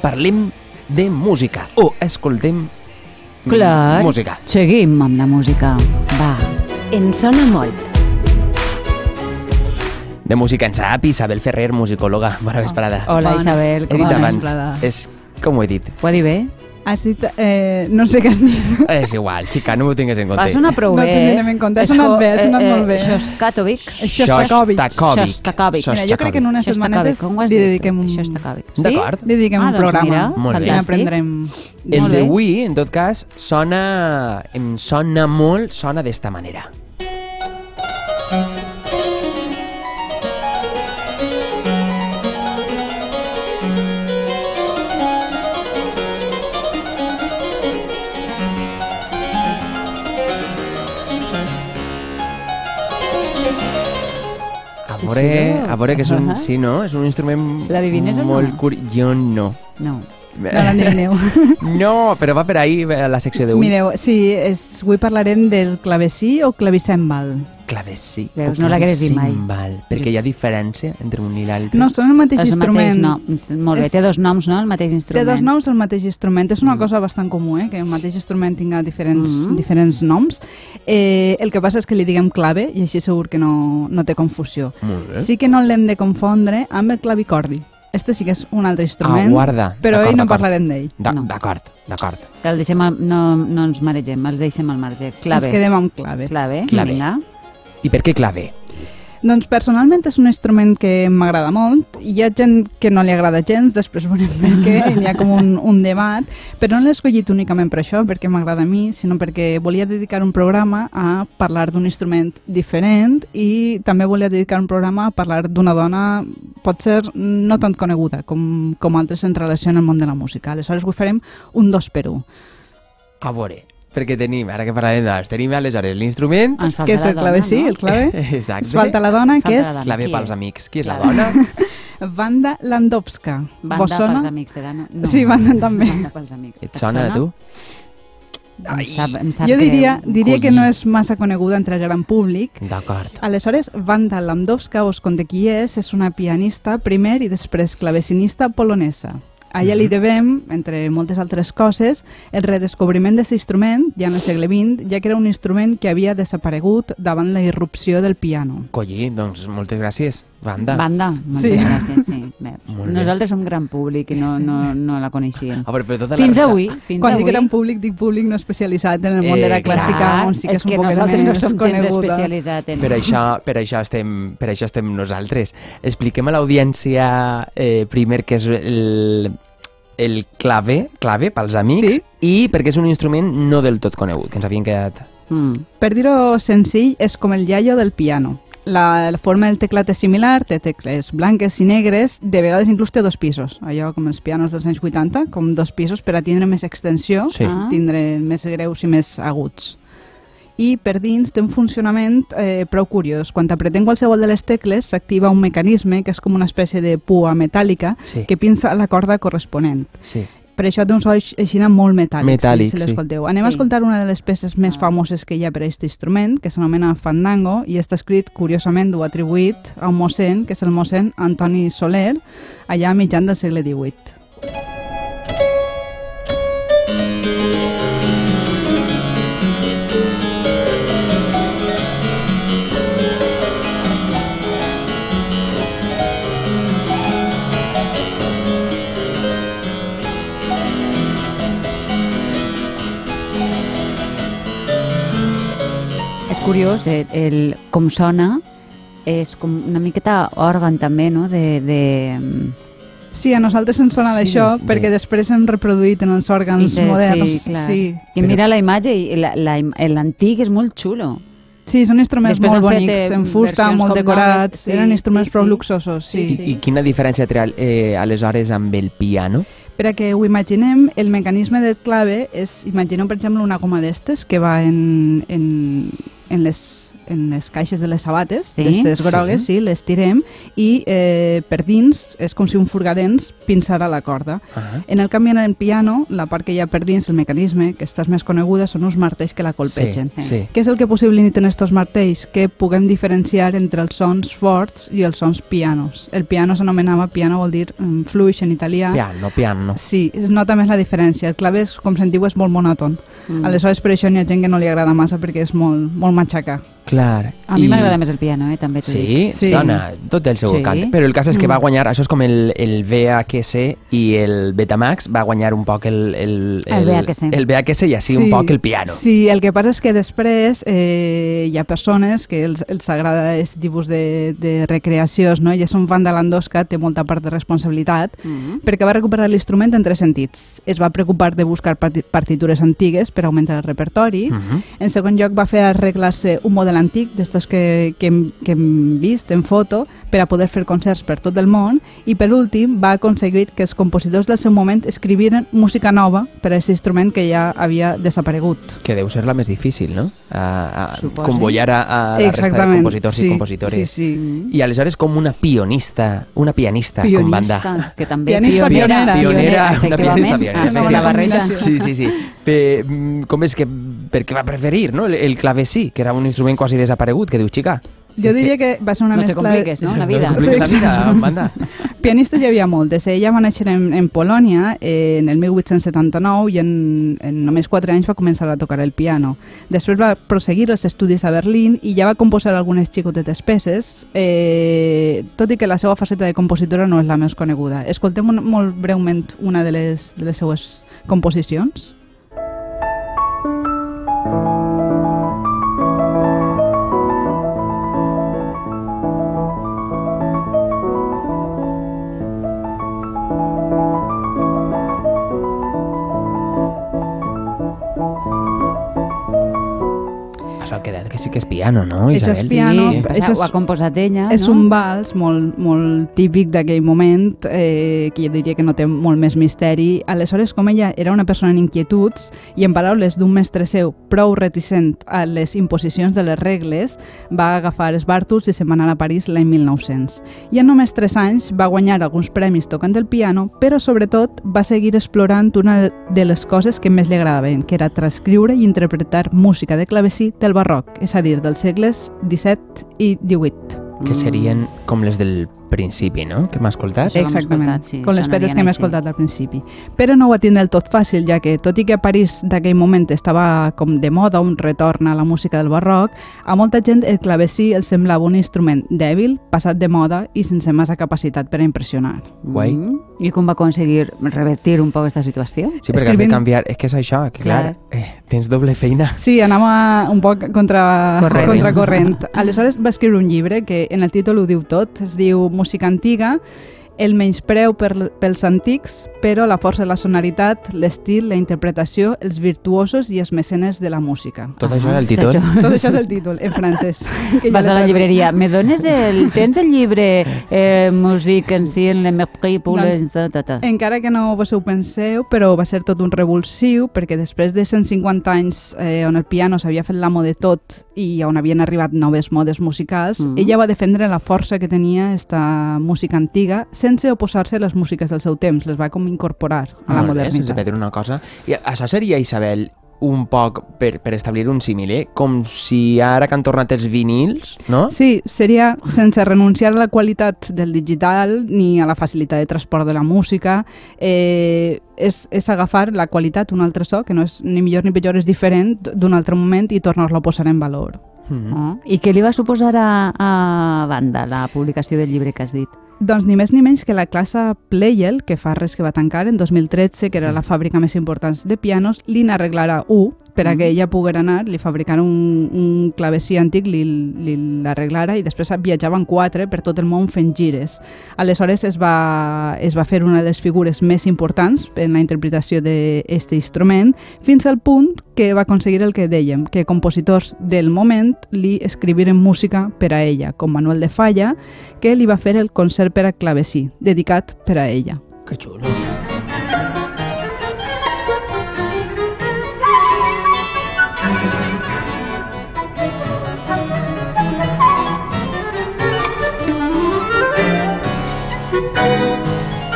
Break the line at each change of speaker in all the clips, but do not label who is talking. parlem de música o escoltem mm,
Clar.
música.
Seguim amb la música. Va.
En sona molt.
De música en sap Isabel Ferrer, musicòloga. Bona vesprada.
Hola,
Bona.
Isabel.
He
Com
dit
Bona
va?
abans,
vesprada.
és com ho he dit.
Ho ha dit bé?
Has dit, eh, no sé què has dit.
És igual, xica, no m'ho tingues en
Va,
compte.
sonar prou
No
bé. eh,
ho tindrem en compte. Ha sonat
co-
bé, ha sonat molt bé.
Shostakovic.
Shostakovich.
Shostakovich.
Shostakovich.
Mira, jo crec que en unes
Shostakovic,
setmanetes
com ho has
li
dit?
dediquem un,
Shostakovic. Sí?
D'acord.
li dediquem
Ah,
un
doncs
programa.
mira,
Molt bé.
Al final aprendrem...
El
Molt bé.
d'avui, en tot cas, sona, em sona molt, sona d'esta manera. A veure, a veure que és un,
Ahà.
sí, no? És un instrument
L'adivines o no?
molt curi... Jo no.
No.
No
eh,
l'endevineu.
No, però va per ahir a la secció d'avui.
Mireu, sí, és, avui parlarem del clavecí o clavicèmbal.
Clavecí.
Veus,
o
no l'hagués dit mai.
clavicímbal, Perquè hi ha diferència entre un i l'altre.
No, són el mateix
És el mateix
instrument.
nom. Molt bé,
És-
té dos noms, no? El mateix
Té
instrument. Mm.
dos noms el mateix instrument. És una cosa bastant comú, eh? que el mateix instrument tinga diferents,
Mhm.
diferents noms. Eh, el que passa és que li diguem clave i així segur que no, no té confusió.
Molt bé.
Sí que no l'hem de confondre amb el clavicordi. Este sí que és un altre instrument,
Ah, guarda.
però
D'acord,
ell no
d'acord.
parlarem d'ell.
Da-
No.
D'acord, d'acord.
Que el deixem al, no, no ens maregem, els deixem al marge. Clave.
Ens quedem amb clave.
Clave.
Clave.
Vinga.
I per què clave?
Doncs personalment és un instrument que m'agrada molt. Hi ha gent que no li agrada gens, després veurem per què, hi ha com un, un debat, però no l'he escollit únicament per això, perquè m'agrada a mi, sinó perquè volia dedicar un programa a parlar d'un instrument diferent i també volia dedicar un programa a parlar d'una dona potser no tan coneguda com, com altres en relació al món de la música. Aleshores, avui farem un dos per un,
A veure, perquè tenim, ara que parlarem de les, tenim aleshores l'instrument...
Ens falta
que és
la
el
dona,
clavecí,
no?
el clave.
Exacte.
Ens falta la dona,
Ah, Falta
que
la
és
dona.
Clave
Qui
pels
és?
amics. Qui és la
Clave.
dona?
Vanda Landowska.
Banda
Vos sona?
pels amics, era... No.
Sí, banda també.
Banda pels amics.
Et sona, a tu?
Em sap, em sap
Jo diria,
greu.
diria que
Collí.
no és massa coneguda entre el gran públic.
D'acord.
Aleshores, Wanda Lamdowska, us conté qui és, és una pianista primer i després clavecinista polonesa. A ella li
Mm-hmm.
devem, entre moltes altres coses, el redescobriment d'aquest instrument ja en el segle XX, ja que era un instrument que havia desaparegut davant la irrupció del piano.
Collí, doncs moltes gràcies, banda.
Banda, moltes
Sí.
gràcies. Sí. Bé,
Molt bé.
Nosaltres som gran públic i no, no, no la coneixíem.
A veure, però tota la
Fins
resta-
avui, fins
Quan
avui.
dic gran públic, dic públic no especialitzat en el món
Eh,
de la clàssica,
clar,
on sí que
és
és, un
que
poquet
nosaltres
més
no som gens
coneguda.
especialitzat en...
Per això, per, això estem, per això estem nosaltres. Expliquem a l'audiència eh, primer què és el, el clave, clave pels amics,
Sí.
i perquè és un instrument no del tot conegut, que ens havien quedat...
Mm.
Per dir-ho senzill, és com el iaio del piano. La, la forma del teclat és similar, té tecles blanques i negres, de vegades inclús té dos pisos, allò com els pianos dels anys 80, com dos pisos per a tindre més extensió,
Sí.
Ah.
tindre més greus i més aguts. I per dins té un funcionament eh, prou curiós. Quan apretem qualsevol de les tecles s'activa un mecanisme que és com una espècie de pua metàl·lica
Sí.
que pinça la corda corresponent.
Sí.
Per això té un so aix- aixina molt metàl·lic,
Metàl·lic,
si
sí.
l'escolteu. Anem
Sí.
a escoltar una de les peces més
Ah.
famoses que hi ha per a aquest instrument, que s'anomena Fandango, i està escrit, curiosament, o atribuït a un mossèn, que és el mossèn Antoni Soler, allà a mitjan del segle XVIII.
És curiós, eh, el, com sona, és com una miqueta òrgan també, no? De, de...
Sí, a nosaltres ens sona
Sí,
d'això,
és de-
perquè després hem reproduït en els òrgans
Sí,
moderns.
sí, clar.
sí.
I
Però-
mira la imatge, i la- la im- l'antic és molt xulo.
sí, són instruments
Després
molt
han fet,
bonics,
eh,
en fusta,
versions
molt
com
decorats,
noves, sí,
eren instruments
sí,
prou
sí.
luxosos, sí.
I, I quina diferència té al- eh, aleshores amb el piano?
Per a que ho imaginem, el mecanisme del clave és, imagineu per exemple una goma d'estes que va en, en, en les en les caixes de les sabates,
Sí?
sí? d'estes
Sí.
grogues, sí. les tirem i eh, per dins és com si un furgadens pinçara la corda.
Ah.
En el canvi, en el piano, la part que hi ha per dins, el mecanisme, que estàs més coneguda, són uns martells que la colpegen.
Sí, sí.
Què és el que possibiliten estos martells? Que puguem diferenciar entre els sons forts i els sons pianos. El piano s'anomenava piano, vol dir mm, fluix en italià.
Piano, piano.
Sí, es nota més la diferència. El clave, és, com se'n diu, és molt monòton. Mm. Aleshores, per això n'hi ha gent que no li agrada massa perquè és molt, molt matxaca.
Clar.
A mi m'agrada més el piano, eh, també t'ho dic.
Sí, sí,
Sí.
dona, tot té el seu
Sí.
sí. cant. Però el cas és que va guanyar, això és com el, el VHS i el Betamax, va guanyar un poc el, el,
El VHS.
el VHS i així un poc el piano.
Sí, el que passa és que després eh, hi ha persones que els, els agrada aquest tipus de, de recreacions, no? I és un fan de l'Andosca, té molta part de responsabilitat,
Mm.
perquè va recuperar l'instrument en tres sentits. Es va preocupar de buscar parti- partitures antigues per augmentar el repertori.
Mhm.
En segon lloc, va fer arreglar-se un model antic, d'estos que, que, hem, que hem vist en foto, per a poder fer concerts per tot el món. I per últim, va aconseguir que els compositors del seu moment escriviren música nova per a aquest instrument que ja havia desaparegut.
Que deu ser la més difícil, no? A, a
Suposo.
convollar a, a la resta de compositors i compositores.
Sí, sí.
I aleshores com una pionista, una pianista, com
Pionista.
banda.
Que també
Pianista pionera.
Pionera, una
efectivament.
pianista pionera.
Ah,
Una
la
bona
barreja.
combinació.
Sí, sí, sí. Pe, mm, com és que... Per què va preferir, no? El, el clavecí, que era un instrument quasi desaparegut, que diu xica.
Jo diria que va ser una
No te
mescla...
compliques, no? La vida.
No, complica la vida, banda.
Pianistes hi havia moltes. eh? Ella va néixer en, en Polònia eh, en el 1879 i en, en només 4 anys va començar a tocar el piano. Després va proseguir els estudis a Berlín i ja va composar algunes xicotetes peces, eh, tot i que la seva faceta de compositora no és la més coneguda. Escoltem un, molt breument una de les, de les seues composicions.
Això ha quedat que sí que és piano, no,
Això
Isabel?
és piano,
Sí.
Passa,
Això és-
ho ha composat ella,
És
no?
un vals molt, molt típic d'aquell moment, eh, que jo diria que no té molt més misteri. Aleshores, com ella era una persona en inquietuds i en paraules d'un mestre seu prou reticent a les imposicions de les regles, va agafar els bàrtols i se'n va anar a París l'any 1900. I en només 3 anys va guanyar alguns premis tocant el piano, però sobretot va seguir explorant una de les coses que més li agradaven, que era transcriure i interpretar música de clavecí del barroc, és a dir, dels segles XVII i XVIII.
Que serien com les del principi, no? Que m'ha escoltat?
Sí. Això l'hem
Exactament,
escoltat, sí,
com les
això
pedres
anarien
que hem
així.
escoltat al principi. Però no ho va tindre el tot fàcil, ja que, tot i que a París d'aquell moment estava com de moda un retorn a la música del barroc, a molta gent el clavecí els semblava un instrument dèbil, passat de moda i sense massa capacitat per a impressionar.
Guai.
Mm. I com va aconseguir revertir un poc aquesta situació?
Sí, perquè has de
Escrivint-
canviar... És que és això, que clar,
Clar.
eh, tens doble feina.
Sí, anava un poc contra
Corrent.
contracorrent. Aleshores va escriure un llibre que en el títol ho diu tot, es diu Música antiga, el menyspreu per, pels antics, però la força de la sonoritat, l'estil, la interpretació, els virtuosos i els mecenes de la música.
Tot
Ah,
això era el títol.
això.
Tot això és el títol, en francès. que jo
Vas a la
l'he
llibreria. Me dones el... Tens el llibre eh, Music en si en le mepri
Doncs,
ta, ta, ta.
Encara que no vos ho penseu, però va ser tot un revulsiu, perquè després de 150 anys eh, on el piano s'havia fet l'amo de tot i on havien arribat noves modes musicals,
Mm.
mm. ella va defendre la força que tenia esta música antiga sense oposar-se a les músiques del seu temps, les va com incorporar a la
Molt bé, sense
modernitat.
perdre una cosa. I això seria, Isabel, un poc, per, per establir un símil, eh? com si ara que han tornat els vinils, no?
Sí, seria sense renunciar a la qualitat del digital ni a la facilitat de transport de la música. Eh, és, és agafar la qualitat, un altre so, que no és ni millor ni pitjor, és diferent d'un altre moment i tornar-lo a posar en valor.
Mm.
Mm-hmm.
Ah, I què li va suposar a, a banda la publicació del llibre que has dit?
Doncs ni més ni menys que la classe Pleyel, que fa res que va tancar en 2013, que era la fàbrica més important de pianos, li n'arreglarà un per a que ella poguera anar, li fabricara un, un clavecí antic, li, li l'arreglara i després viatjaven quatre per tot el món fent gires. Aleshores es va, eh, es va fer una de les figures més importants en la interpretació d'aquest instrument, fins al punt que va aconseguir el que dèiem, que compositors del moment li escriviren música per a ella, com Manuel de Falla, que li va fer el concert per a clavecí, dedicat per a ella.
Que xulo.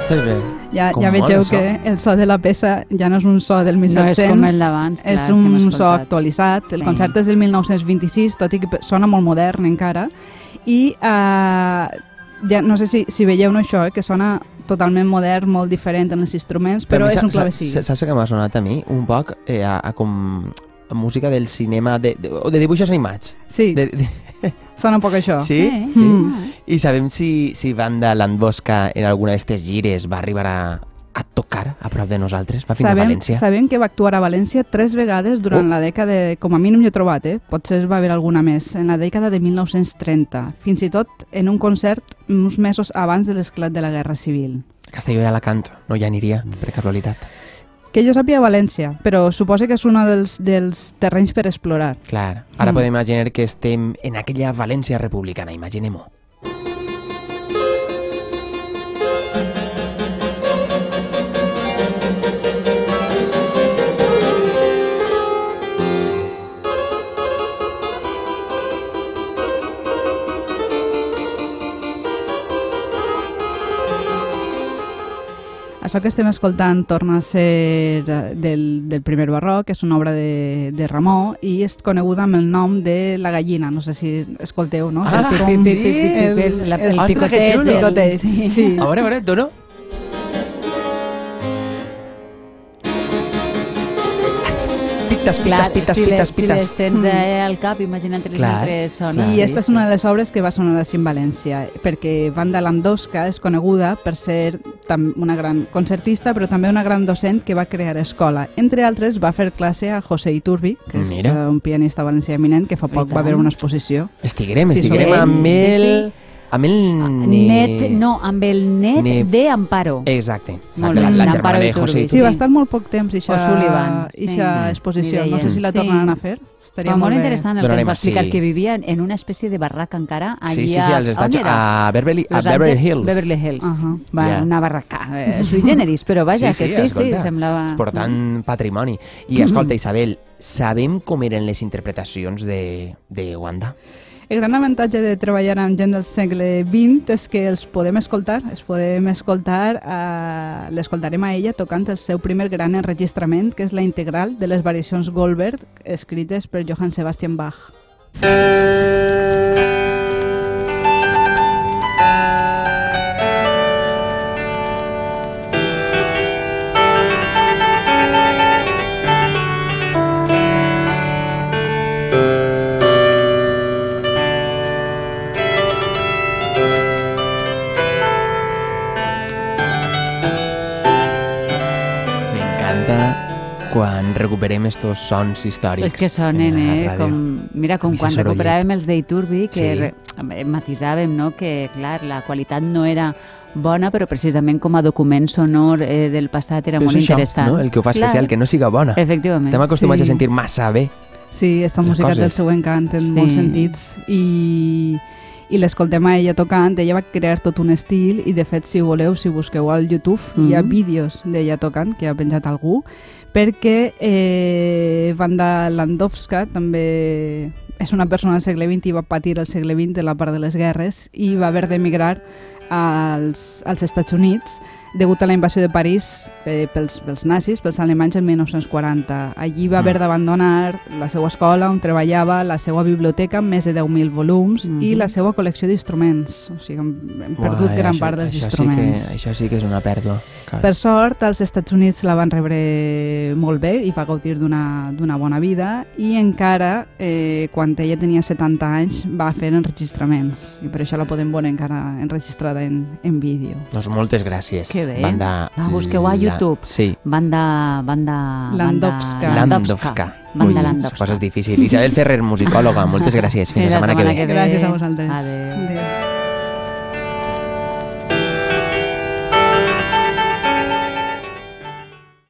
Ostres, bé.
Ja,
Com
ja
mola,
vegeu
això.
que el so de la peça ja no és un so del
No
1700.
és com el d'abans, clar,
És
que hem
un so
escoltat.
actualitzat. El
Sí.
concert és del 1926, tot i que pe- sona molt modern encara. I eh, ja no sé si, si veieu no, això, eh, que sona totalment modern, molt diferent en els instruments, però,
a mi
és
sa-
un
sa-
clavecí.
sa- Saps que m'ha sonat a mi? Un poc eh, a, a com a música del cinema de, de, o de dibuixos animats.
Sí,
De, de,
sona un poc això.
sí?
Eh,
sí.
Mm.
I sabem si, si Banda Landbosca en alguna d'aquestes gires va arribar a, a tocar a prop de nosaltres? Va fins
sabem,
a València?
Sabem que va actuar a València tres vegades durant
Oh.
la dècada, com a mínim jo he trobat, eh? potser va haver alguna més, en la dècada de 1930, fins i tot en un concert uns mesos abans de l'esclat de la Guerra Civil.
A Castelló i Alacant, no hi aniria, per casualitat.
Que jo sàpiga València, però suposa que és un dels, dels terrenys per explorar.
Clar, ara
Mm.
podem imaginar que estem en aquella València republicana, imaginem-ho.
Això que estem escoltant torna a ser eh, del, del primer barroc, és una obra de, de Ramó i és coneguda amb el nom de La gallina, no sé si escolteu, no?
Ah,
Que és
sí,
com
sí, sí, sí, sí,
el-
el- la- el
el
picoteig, Ostres, que xulo. el-
picoteig, sí.
A veure, a veure, dono. Pites, pites,
Clar,
pites,
si,
pites,
les, si
pites.
les tens eh, al cap, imagina't les
Mm. Clar,
altres sones.
clar.
I aquesta és una de les obres que va sonar així en València, perquè Banda Landowska és coneguda per ser tam- una gran concertista, però també una gran docent que va crear escola. Entre altres, va fer classe a José Iturbi, que és
Mira.
eh, un pianista valencià eminent que fa
I
poc va
tant.
haver una exposició.
Estiguerem,
Sí,
estiguerem
sobre
amb
ell,
el...
sí, Ah,
Amb el... Mm,
Net, no, amb el net,
Ne-
de Amparo.
Exacte.
Molt
exacte, la, la
bé,
germana
l'Amparo
de
Iturbi,
José
Sí,
Sí.
va estar molt poc temps ixa,
O Sullivan, sí.
ixa
Mm.
exposició.
Ni
No sé
deien.
si la
Sí.
tornaran a fer. Estaria
Va, molt
bé.
interessant el que
Donarem
ens va explicar,
així.
que vivia en una espècie de barraca encara.
Sí,
allí
sí, sí, als
on
Estats
era?
A Beverly, a
Los
Beverly
Angeles-
Hills.
Beverly Hills.
Ajá.
Va,
Ja.
una barraca. Eh, sui generis, però vaja, que sí, sí,
escolta,
semblava... Mm.
Portant patrimoni. I escolta, Isabel, sabem com eren les interpretacions de, de Wanda?
El gran avantatge de treballar amb gent del segle XX és que els podem escoltar, els podem escoltar, eh, l'escoltarem a ella tocant el seu primer gran enregistrament, que és la integral de les variacions Goldberg escrites per Johann Sebastian Bach.
M'encanta quan recuperem estos sons històrics.
És que sonen,
en la
eh?
ràdio.
Com, mira, com
Missa
quan
sorollet.
recuperàvem els d'Iturbi, que
Sí.
sí. re, home, matisàvem no? que, clar, la qualitat no era bona, però precisament com a document sonor eh, del passat era
Però
molt
és això,
interessant.
No? El que ho fa
Clar,
especial, que no siga bona.
Efectivament.
Estem acostumats
Sí.
a sentir massa bé.
Sí, esta
Les
música
coses.
és del seu encant en
Sí.
molts sentits i, i l'escoltem a ella tocant. Ella va crear tot un estil i, de fet, si voleu, si busqueu al YouTube,
Mhm.
hi
Mm-hmm.
ha vídeos d'ella tocant que ha penjat algú, perquè eh, Vanda Landowska també és una persona del segle XX i va patir el segle XX de la part de les guerres i va haver d'emigrar als, als Estats Units degut a la invasió de París eh, pels, pels nazis, pels alemanys en 1940. Allí va haver
Mm.
d'abandonar la seva escola on treballava, la seva biblioteca amb més de 10.000 volums
Mhm.
i la seva col·lecció d'instruments. O sigui, hem, hem perdut
Mm-hmm. Uai,
gran
això-
part dels
això
instruments.
Sí que, això sí que és una pèrdua. Clar.
Per sort, als Estats Units la van rebre molt bé i va gaudir d'una d'una bona vida i encara, eh, quan ella tenia 70 anys, va fer enregistraments i per això la podem veure encara enregistrada en, en vídeo.
Doncs moltes gràcies.
Que bé.
Banda...
Va, busqueu a
la-
YouTube.
Sí.
Banda... banda
Landowska.
Banda Landowska. Banda
Ui,
Landowska.
Coses difícils. Isabel Ferrer, musicòloga, moltes gràcies. Fins la setmana que ve.
Gràcies a vosaltres.
Adéu.
Adéu.